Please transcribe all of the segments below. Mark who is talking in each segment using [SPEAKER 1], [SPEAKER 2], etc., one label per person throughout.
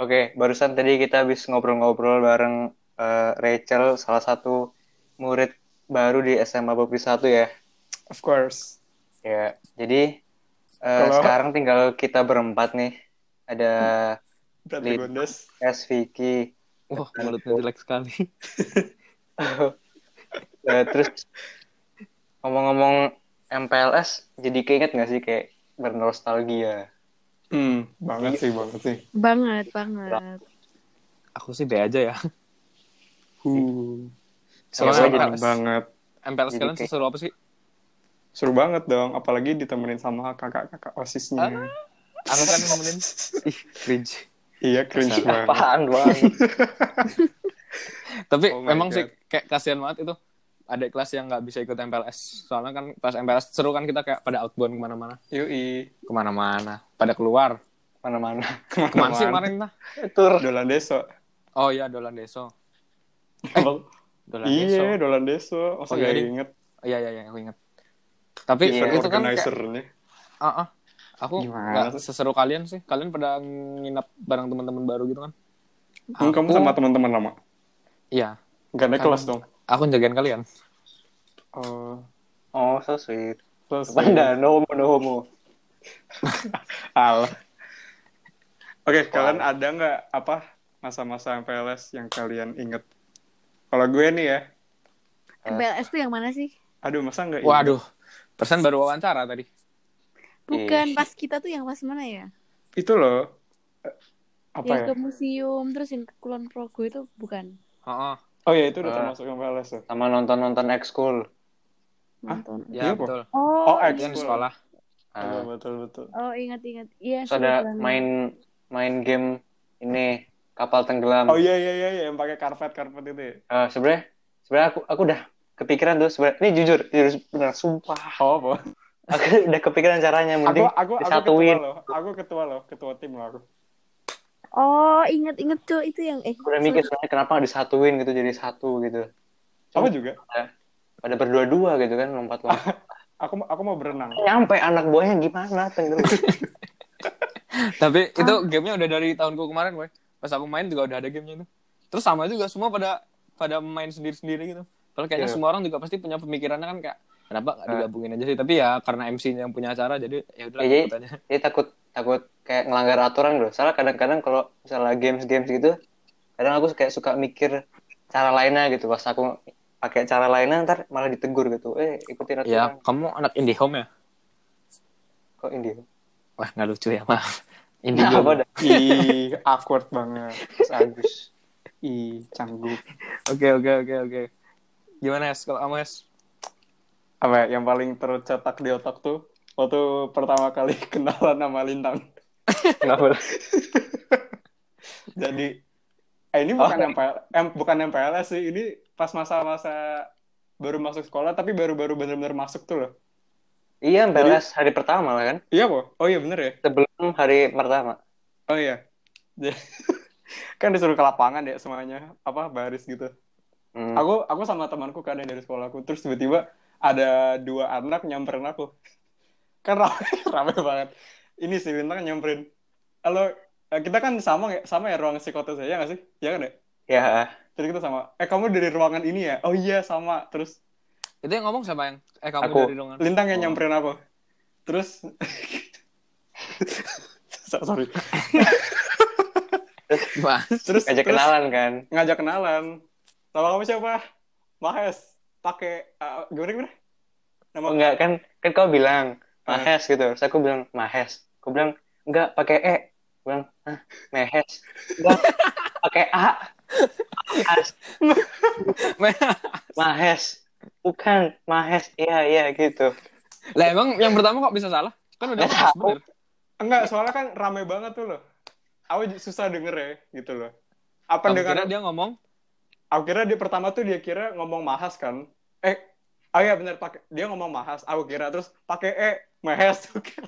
[SPEAKER 1] Oke, barusan tadi kita habis ngobrol-ngobrol bareng eh, Rachel, salah satu murid baru di SMA Bakti 1 ya.
[SPEAKER 2] Of course.
[SPEAKER 1] Ya, jadi eh,
[SPEAKER 2] Kalau-
[SPEAKER 1] sekarang tinggal kita berempat nih. Ada
[SPEAKER 2] Berarti
[SPEAKER 1] Lid.
[SPEAKER 2] Gondes.
[SPEAKER 1] S. Vicky,
[SPEAKER 3] Wah,
[SPEAKER 2] Nah,
[SPEAKER 3] mulutnya jelek sekali.
[SPEAKER 1] Eh, terus ngomong-ngomong MPLS, jadi keinget nggak sih kayak bernostalgia?
[SPEAKER 2] Hmm, banget
[SPEAKER 3] Iya.
[SPEAKER 2] sih, banget sih.
[SPEAKER 4] Banget, banget.
[SPEAKER 3] Aku sih B aja ya.
[SPEAKER 2] Huh.
[SPEAKER 1] Soalnya
[SPEAKER 2] Soalnya
[SPEAKER 1] jadi
[SPEAKER 2] enak banget.
[SPEAKER 3] MPLS
[SPEAKER 1] Jadi
[SPEAKER 3] kalian
[SPEAKER 1] kayak-
[SPEAKER 3] seseru apa sih?
[SPEAKER 2] Seru banget dong, apalagi ditemenin sama kakak-kakak OSISnya.
[SPEAKER 3] Ah. Aku kan nemenin. Ih, cringe.
[SPEAKER 2] Iya, cringe banget.
[SPEAKER 3] Salah.
[SPEAKER 1] Apaan doang?
[SPEAKER 3] Tapi
[SPEAKER 2] Oh my
[SPEAKER 3] memang
[SPEAKER 2] God.
[SPEAKER 3] sih kayak kasihan banget itu ada kelas yang nggak bisa ikut MPLS. Soalnya kan pas MPLS seru kan kita kayak pada outbound kemana-mana,
[SPEAKER 2] Yui,
[SPEAKER 3] kemana-mana, pada keluar.
[SPEAKER 1] Mana-mana.
[SPEAKER 3] Kemana
[SPEAKER 2] Kemana-mana.
[SPEAKER 3] sih kemarin nah?
[SPEAKER 1] Tur.
[SPEAKER 2] Dolan Deso.
[SPEAKER 3] Oh iya, Dolan Deso. Dolan Deso.
[SPEAKER 2] Iya, Oh, Dolan Deso. Masa
[SPEAKER 3] Oh,
[SPEAKER 2] gak
[SPEAKER 3] jadi-
[SPEAKER 2] inget
[SPEAKER 3] Iya iya iya, aku ingat. Tapi
[SPEAKER 1] Iya,
[SPEAKER 3] itu kan kayak,
[SPEAKER 2] organizer-nya.
[SPEAKER 3] Ah, ah. aku
[SPEAKER 2] Gimana
[SPEAKER 3] nggak
[SPEAKER 2] tuh?
[SPEAKER 3] seseru kalian sih. Kalian pada nginap bareng teman-teman baru gitu kan?
[SPEAKER 2] Hmm, Kamu
[SPEAKER 3] Aku-
[SPEAKER 2] sama teman-teman lama?
[SPEAKER 3] Iya,
[SPEAKER 2] Gak naik
[SPEAKER 3] Sama.
[SPEAKER 2] kelas dong?
[SPEAKER 3] aku jagain kalian.
[SPEAKER 2] Oh,
[SPEAKER 1] Oh, so sweet.
[SPEAKER 2] kelas.
[SPEAKER 1] Panda, no homo, no homo.
[SPEAKER 2] Al. Oke, kalian ada nggak apa masa-masa MPLS yang kalian inget? Kalau gue nih ya,
[SPEAKER 4] MPLS tuh yang mana sih?
[SPEAKER 2] aduh masa
[SPEAKER 1] Iya.
[SPEAKER 2] nggak inget?
[SPEAKER 3] Waduh, persen baru wawancara tadi.
[SPEAKER 4] Bukan, pas kita tuh yang pas mana ya?
[SPEAKER 2] Itu loh, eh, apa
[SPEAKER 4] yang
[SPEAKER 2] ya?
[SPEAKER 4] ke museum, terus yang ke Kulon Progo itu bukan
[SPEAKER 3] Heeh.
[SPEAKER 2] Oh ya itu udah
[SPEAKER 1] Ah.
[SPEAKER 2] termasuk MPLS ya?
[SPEAKER 1] Sama nonton-nonton Nah, ekskul.
[SPEAKER 4] nonton.
[SPEAKER 2] Iya,
[SPEAKER 3] ya
[SPEAKER 2] Bo.
[SPEAKER 3] betul.
[SPEAKER 4] Oh,
[SPEAKER 2] Oh, X.
[SPEAKER 4] iya.
[SPEAKER 3] Yang di sekolah.
[SPEAKER 2] Iya,
[SPEAKER 1] Ah,
[SPEAKER 2] betul-betul.
[SPEAKER 4] oh ingat-ingat. Iya,
[SPEAKER 1] terus ada
[SPEAKER 4] seru banget.
[SPEAKER 1] main main game ini kapal tenggelam.
[SPEAKER 2] Oh iya iya iya iya, yang pakai karpet-karpet itu ya?
[SPEAKER 1] Eh, sebenarnya sebenarnya aku aku udah kepikiran tuh sebenarnya ini jujur jujur benar sumpah
[SPEAKER 2] Oh, Bo.
[SPEAKER 1] aku udah kepikiran caranya
[SPEAKER 2] Aku,
[SPEAKER 1] mending
[SPEAKER 2] aku, aku ketua
[SPEAKER 1] disatuin
[SPEAKER 2] loh. Aku ketua loh, ketua tim loh aku.
[SPEAKER 4] Oh, ingat-ingat tuh itu yang eh.
[SPEAKER 1] aku udah mikir
[SPEAKER 4] sorry.
[SPEAKER 1] sebenarnya kenapa nggak disatuin gitu jadi satu gitu
[SPEAKER 2] Kamu juga?
[SPEAKER 1] pada berdua-dua gitu kan lompat-lompat
[SPEAKER 2] Aku aku mau berenang.
[SPEAKER 1] nyampe anak buahnya gimana tenggelam
[SPEAKER 3] Tapi itu gamenya udah dari tahunku kemarin, boy. Pas aku main juga udah ada gamenya itu. Terus sama juga semua pada pada main sendiri-sendiri gitu. Padahal
[SPEAKER 1] Iya.
[SPEAKER 3] kayaknya
[SPEAKER 1] Ah.
[SPEAKER 3] semua orang juga pasti punya pemikirannya kan kayak kenapa nggak digabungin aja sih? Tapi ya karena MC-nya yang punya acara jadi ya udah
[SPEAKER 1] Iya, iya.
[SPEAKER 3] ikut aja.
[SPEAKER 1] jadi takut takut kayak ngelanggar aturan loh soalnya kadang-kadang kalau misalnya games-games gitu kadang aku kayak suka mikir cara lainnya gitu pas aku pakai cara lainnya ntar malah ditegur gitu eh ikutin
[SPEAKER 3] Ya,
[SPEAKER 1] aturan
[SPEAKER 3] kamu anak indie home ya?
[SPEAKER 1] kok ini
[SPEAKER 3] Wah, nggak lucu ya, maaf. Indie
[SPEAKER 1] Nah,
[SPEAKER 3] home.
[SPEAKER 1] apa dah
[SPEAKER 2] Ih, awkward banget.
[SPEAKER 1] Mas Agus
[SPEAKER 2] Ih, canggung.
[SPEAKER 3] Oke oke oke oke. Gimana es kalau kamu es?
[SPEAKER 2] apa ya, yang paling tercetak di otak tuh waktu pertama kali kenalan sama Lintang.
[SPEAKER 1] Kenapa?
[SPEAKER 2] Jadi eh, ini
[SPEAKER 1] Oh.
[SPEAKER 2] bukan MPL, em, bukan MPLS sih, ini pas masa-masa baru masuk sekolah tapi baru-baru bener-bener masuk tuh loh.
[SPEAKER 1] Iya, beres hari pertama lah kan.
[SPEAKER 2] Iya, Bo. Oh iya bener ya.
[SPEAKER 1] Sebelum hari pertama.
[SPEAKER 2] Oh iya. Jadi- kan disuruh ke lapangan ya semuanya, apa baris gitu.
[SPEAKER 1] Hmm.
[SPEAKER 2] Aku aku sama temanku kadang dari sekolahku terus tiba-tiba ada dua anak nyamperin aku. Kan rame, rame banget. Ini si Lintang nyamperin. Halo, eh, kita kan sama nggak- sama ya ruang psikotes ya nggak sih? Ya kan ya?
[SPEAKER 1] Ya,
[SPEAKER 2] Jadi kita sama. Eh kamu dari ruangan ini ya? Oh iya sama. Terus
[SPEAKER 3] Itu yang ngomong siapa yang? Eh kamu
[SPEAKER 1] Aku.
[SPEAKER 3] dari dongan.
[SPEAKER 2] Lintang
[SPEAKER 1] Oh.
[SPEAKER 2] yang nyamperin aku. Terus So- sorry.
[SPEAKER 3] Wah,
[SPEAKER 2] Terus
[SPEAKER 1] ngajak
[SPEAKER 2] terus
[SPEAKER 1] kenalan kan.
[SPEAKER 2] Ngajak kenalan. Nama kamu siapa? Mahes. Pakai eh, gimana gimana? Nama
[SPEAKER 1] Oh, enggak kan kan kau bilang
[SPEAKER 2] Ah.
[SPEAKER 1] Mahes gitu. Terus aku bilang Mahes. Aku bilang enggak pakai E. Aku bilang, "Hah, Mehes." Enggak pakai A. Mahes. Mahes. Bukan Mahes. Iya, iya gitu.
[SPEAKER 3] lah emang yang pertama kok bisa salah? Kan udah
[SPEAKER 1] Nggak
[SPEAKER 3] pas
[SPEAKER 1] tahu.
[SPEAKER 3] bener.
[SPEAKER 2] Enggak, soalnya kan rame banget tuh loh. Aku j- susah denger ya, gitu loh. Apa
[SPEAKER 3] Kamu
[SPEAKER 2] dengar?
[SPEAKER 3] kira dia ngomong?
[SPEAKER 2] Aku kira dia pertama tuh dia kira ngomong mahas kan. Eh, oh iya bener, pakai dia ngomong mahas. Aku kira terus pakai e mahes.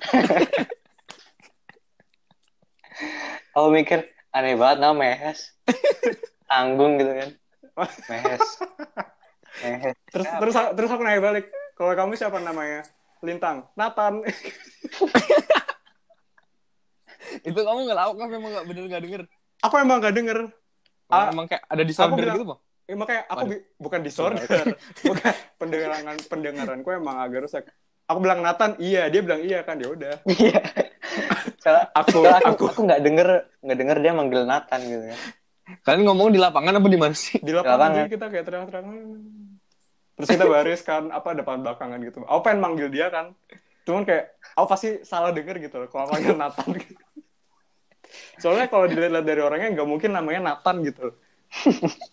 [SPEAKER 1] Aku mikir aneh banget nama Mehes. Tanggung gitu kan. Mehes. Mehes.
[SPEAKER 2] terus terus aku- terus aku naik balik. Kalau kamu siapa namanya? Lintang, Nathan.
[SPEAKER 3] Itu kamu nggak lauk kan memang nggak bener nggak denger.
[SPEAKER 2] Aku emang gak denger. Ah,
[SPEAKER 3] emang kayak ada disorder
[SPEAKER 2] bilang-
[SPEAKER 3] gitu, Bang.
[SPEAKER 2] Ya, makanya aku
[SPEAKER 3] Waduh.
[SPEAKER 2] bi- bukan disorder. bukan pendengaran pendengaranku emang agak rusak. Aku bilang Nathan, iya, dia bilang iya kan, ya udah.
[SPEAKER 1] Iya. Salah
[SPEAKER 2] Aku
[SPEAKER 1] Soalnya aku
[SPEAKER 2] aku
[SPEAKER 1] aku nggak denger nggak denger dia manggil Nathan gitu kan.
[SPEAKER 3] Kalian ngomong di lapangan apa di mana sih?
[SPEAKER 2] di
[SPEAKER 1] lapangan.
[SPEAKER 2] lapangan jadi kita kayak teriak-teriakan. Terus kita baris kan apa depan belakangan gitu. Aku pengen manggil dia kan. Cuman kayak aku pasti salah denger gitu loh kalau manggil Nathan. Gitu. Soalnya kalau dilihat dari orangnya nggak mungkin namanya Nathan gitu. loh.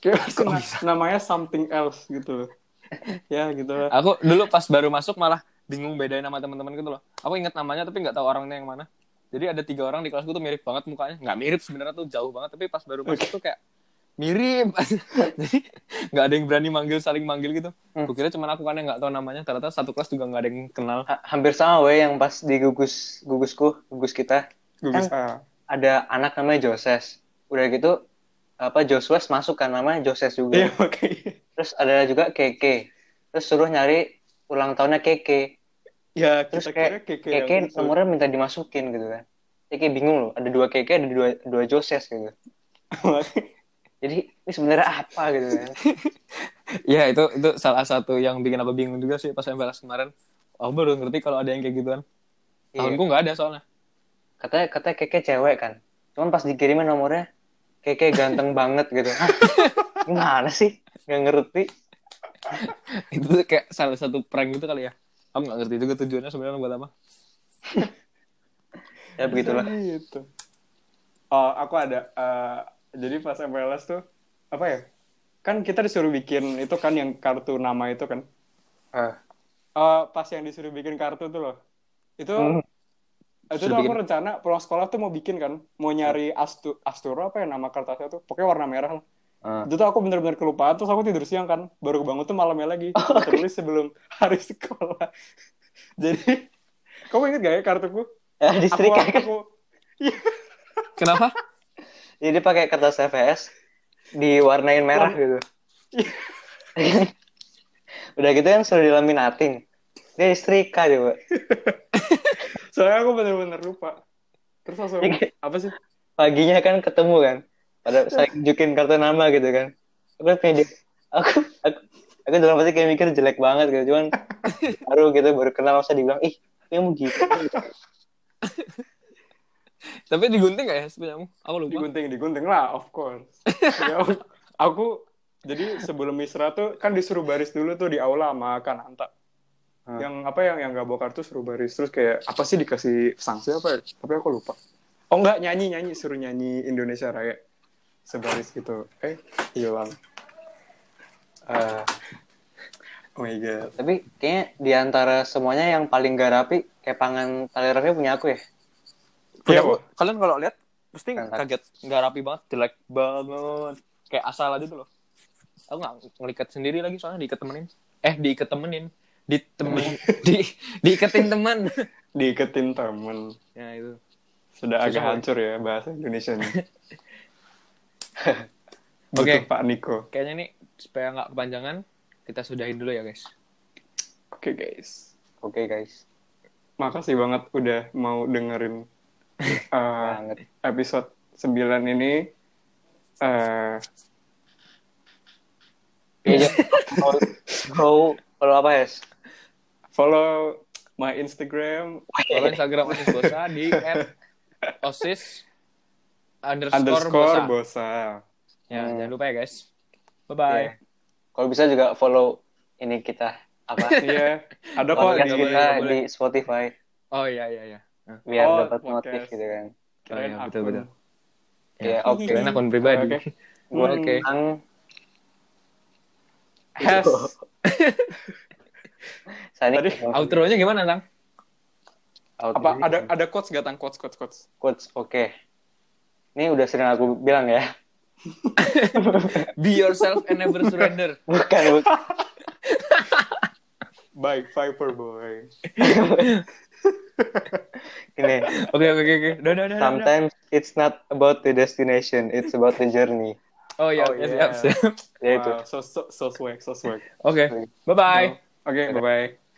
[SPEAKER 2] Kayak pasti na- namanya something else gitu loh. Ya gitu lah.
[SPEAKER 3] Aku dulu pas baru masuk malah bingung bedain nama teman-teman gitu loh. Aku ingat namanya tapi nggak tahu orangnya yang mana. Jadi ada tiga orang di kelasku tuh mirip banget mukanya. Nggak mirip sebenarnya tuh jauh banget tapi pas baru masuk tuh kayak mirip. Jadi nggak ada yang berani manggil saling manggil gitu.
[SPEAKER 1] Hmm.
[SPEAKER 3] Gue kira cuma aku kan yang nggak tahu namanya. Ternyata satu kelas juga nggak ada yang kenal.
[SPEAKER 1] Ha- hampir sama we yang pas di gugus gugusku gugus kita
[SPEAKER 2] Gue
[SPEAKER 1] Kan-
[SPEAKER 2] bisa.
[SPEAKER 1] ada anak namanya Joses. Udah gitu apa Joshua masuk kan namanya Joses juga.
[SPEAKER 2] Iya makanya.
[SPEAKER 1] Terus ada juga Keke. Terus suruh nyari ulang tahunnya Keke.
[SPEAKER 2] Ya
[SPEAKER 1] Terus
[SPEAKER 2] kita
[SPEAKER 1] kayak
[SPEAKER 2] kira keke yang
[SPEAKER 1] Keke
[SPEAKER 2] muncul.
[SPEAKER 1] nomornya minta dimasukin gitu kan. Keke bingung loh, ada dua Keke, ada dua, dua Joses gitu. Jadi ini sebenarnya apa gitu kan.
[SPEAKER 3] Iya itu itu salah satu yang bikin aku bingung juga sih pas MPLS kemarin. Aku baru ngerti kalau ada yang kayak gituan.
[SPEAKER 1] Iya.
[SPEAKER 3] Tahunku nggak ada soalnya.
[SPEAKER 1] Katanya, katanya Keke cewek kan. Cuman pas dikirimin nomornya, Keke ganteng banget gitu. Hah? Gimana sih? Gak ngerti.
[SPEAKER 3] Itu tuh kayak salah satu prank gitu kali ya. Aku nggak ngerti juga tujuannya sebenarnya buat apa.
[SPEAKER 1] Ya begitulah.
[SPEAKER 2] Gitu. Oh, aku ada. eh, jadi pas MPLS tuh apa ya? Kan kita disuruh bikin itu kan yang kartu nama itu kan.
[SPEAKER 1] Ah.
[SPEAKER 2] Eh, pas yang disuruh bikin kartu tuh loh. Itu
[SPEAKER 1] Hmm.
[SPEAKER 2] itu tuh
[SPEAKER 3] Disuruh
[SPEAKER 2] aku
[SPEAKER 3] bikin.
[SPEAKER 2] rencana pulang sekolah tuh mau bikin kan. Mau nyari Astu, Asturo apa ya nama kertasnya tuh. Pokoknya warna merah lah.
[SPEAKER 1] Ah.
[SPEAKER 2] Itu tuh aku bener-bener kelupaan terus aku tidur siang kan. Baru bangun tuh malamnya lagi. Tertulis sebelum hari sekolah. jadi kamu inget gak ya kartuku?
[SPEAKER 1] Ya,
[SPEAKER 2] Aku,
[SPEAKER 1] disetrika kan.
[SPEAKER 2] aku,
[SPEAKER 3] Kenapa?
[SPEAKER 1] Jadi pakai kertas CVS diwarnain merah gitu. Udah gitu kan sudah dilaminating. Dia disetrika coba.
[SPEAKER 2] Soalnya aku bener-bener lupa. Terus langsung, apa sih?
[SPEAKER 1] Paginya kan ketemu kan. Pada saya tunjukin kartu nama gitu kan. Terus punya dia, aku aku aku dalam hati kayak mikir jelek banget gitu. Cuman baru gitu baru kenal masa dibilang ih kamu gitu.
[SPEAKER 3] Tapi digunting gak ya sebenarnya? Aku lupa.
[SPEAKER 2] Digunting, digunting lah, of course. Ya, aku- aku, jadi sebelum istirahat tuh, kan disuruh baris dulu tuh di aula sama Kananta.
[SPEAKER 1] Hmm.
[SPEAKER 2] Yang apa yang yang gak bawa kartu suruh baris. Terus kayak, apa sih dikasih sanksi apa ya? Tapi aku lupa. Oh enggak, nyanyi-nyanyi. Suruh nyanyi Indonesia Raya. Sebaris gitu. Eh, hilang. Eh, oh my god.
[SPEAKER 1] Tapi kayaknya di antara semuanya yang paling gak rapi kepangan tali rafia punya aku ya.
[SPEAKER 2] Iya,
[SPEAKER 3] Punya aku- kalian kalau lihat pasti
[SPEAKER 1] Kan, kan.
[SPEAKER 3] kaget, nggak rapi banget, jelek banget, kayak asal aja tuh loh. Aku nggak ngeliket sendiri lagi soalnya diikat temenin. Eh diikat temenin, ditemenin, di diiketin teman.
[SPEAKER 2] Diiketin temen.
[SPEAKER 3] ya itu.
[SPEAKER 2] Sudah agak
[SPEAKER 3] Susah, Boy.
[SPEAKER 2] hancur ya bahasa Indonesia
[SPEAKER 3] Oke.
[SPEAKER 2] Oke. Pak Niko.
[SPEAKER 3] Kayaknya nih supaya nggak kepanjangan kita sudahin dulu ya guys.
[SPEAKER 2] Oke guys.
[SPEAKER 1] Oke guys.
[SPEAKER 2] Makasih banget udah mau dengerin eh,
[SPEAKER 1] Banget.
[SPEAKER 2] episode 9 ini. eh
[SPEAKER 1] Iya. Kalau kalau- kalau apa ya?
[SPEAKER 2] follow my Instagram
[SPEAKER 3] Follow Instagram osis bosa di @osis underscore,
[SPEAKER 2] underscore
[SPEAKER 3] bosa.
[SPEAKER 2] bosa.
[SPEAKER 3] Ya
[SPEAKER 1] Hmm.
[SPEAKER 3] jangan lupa ya guys. Bye bye.
[SPEAKER 1] Iya. Kalau bisa juga follow ini kita apa?
[SPEAKER 2] Iya. Ada kok
[SPEAKER 1] podcast
[SPEAKER 2] di
[SPEAKER 3] boleh,
[SPEAKER 1] kita
[SPEAKER 3] boleh.
[SPEAKER 1] di Spotify
[SPEAKER 3] Oh iya iya iya. Nah,
[SPEAKER 1] biar
[SPEAKER 2] Oh,
[SPEAKER 1] dapat
[SPEAKER 2] podcast. Ya.
[SPEAKER 1] notif gitu kan.
[SPEAKER 2] kirain
[SPEAKER 3] iya,
[SPEAKER 2] akun.
[SPEAKER 3] betul, betul.
[SPEAKER 1] Iya, oke.
[SPEAKER 3] Kalian Ya, akun pribadi.
[SPEAKER 2] Oke.
[SPEAKER 3] Oke. Hmm.
[SPEAKER 1] Ang
[SPEAKER 2] Has.
[SPEAKER 1] Sani
[SPEAKER 2] Tadi
[SPEAKER 3] Outro-nya gimana, Tang?
[SPEAKER 1] Out-
[SPEAKER 2] Apa ada ada quotes gak Iya, tang quotes quotes quotes?
[SPEAKER 1] quotes? Oke. Ini udah sering aku bilang ya.
[SPEAKER 3] Be yourself and never surrender.
[SPEAKER 1] Bukan bukan.
[SPEAKER 2] Baik, Viper boy.
[SPEAKER 1] Ini
[SPEAKER 3] Oke, oke, oke, oke. Udah, udah, udah, udah.
[SPEAKER 1] sometimes it's not about the destination, it's about the journey.
[SPEAKER 3] Oh iya,
[SPEAKER 2] Oh,
[SPEAKER 3] iya,
[SPEAKER 2] iya.
[SPEAKER 3] siap, siap.
[SPEAKER 1] Ya itu.
[SPEAKER 2] Wow, so so so swag, so swag.
[SPEAKER 3] Oke. Bye-bye.
[SPEAKER 2] Oke, bye bye.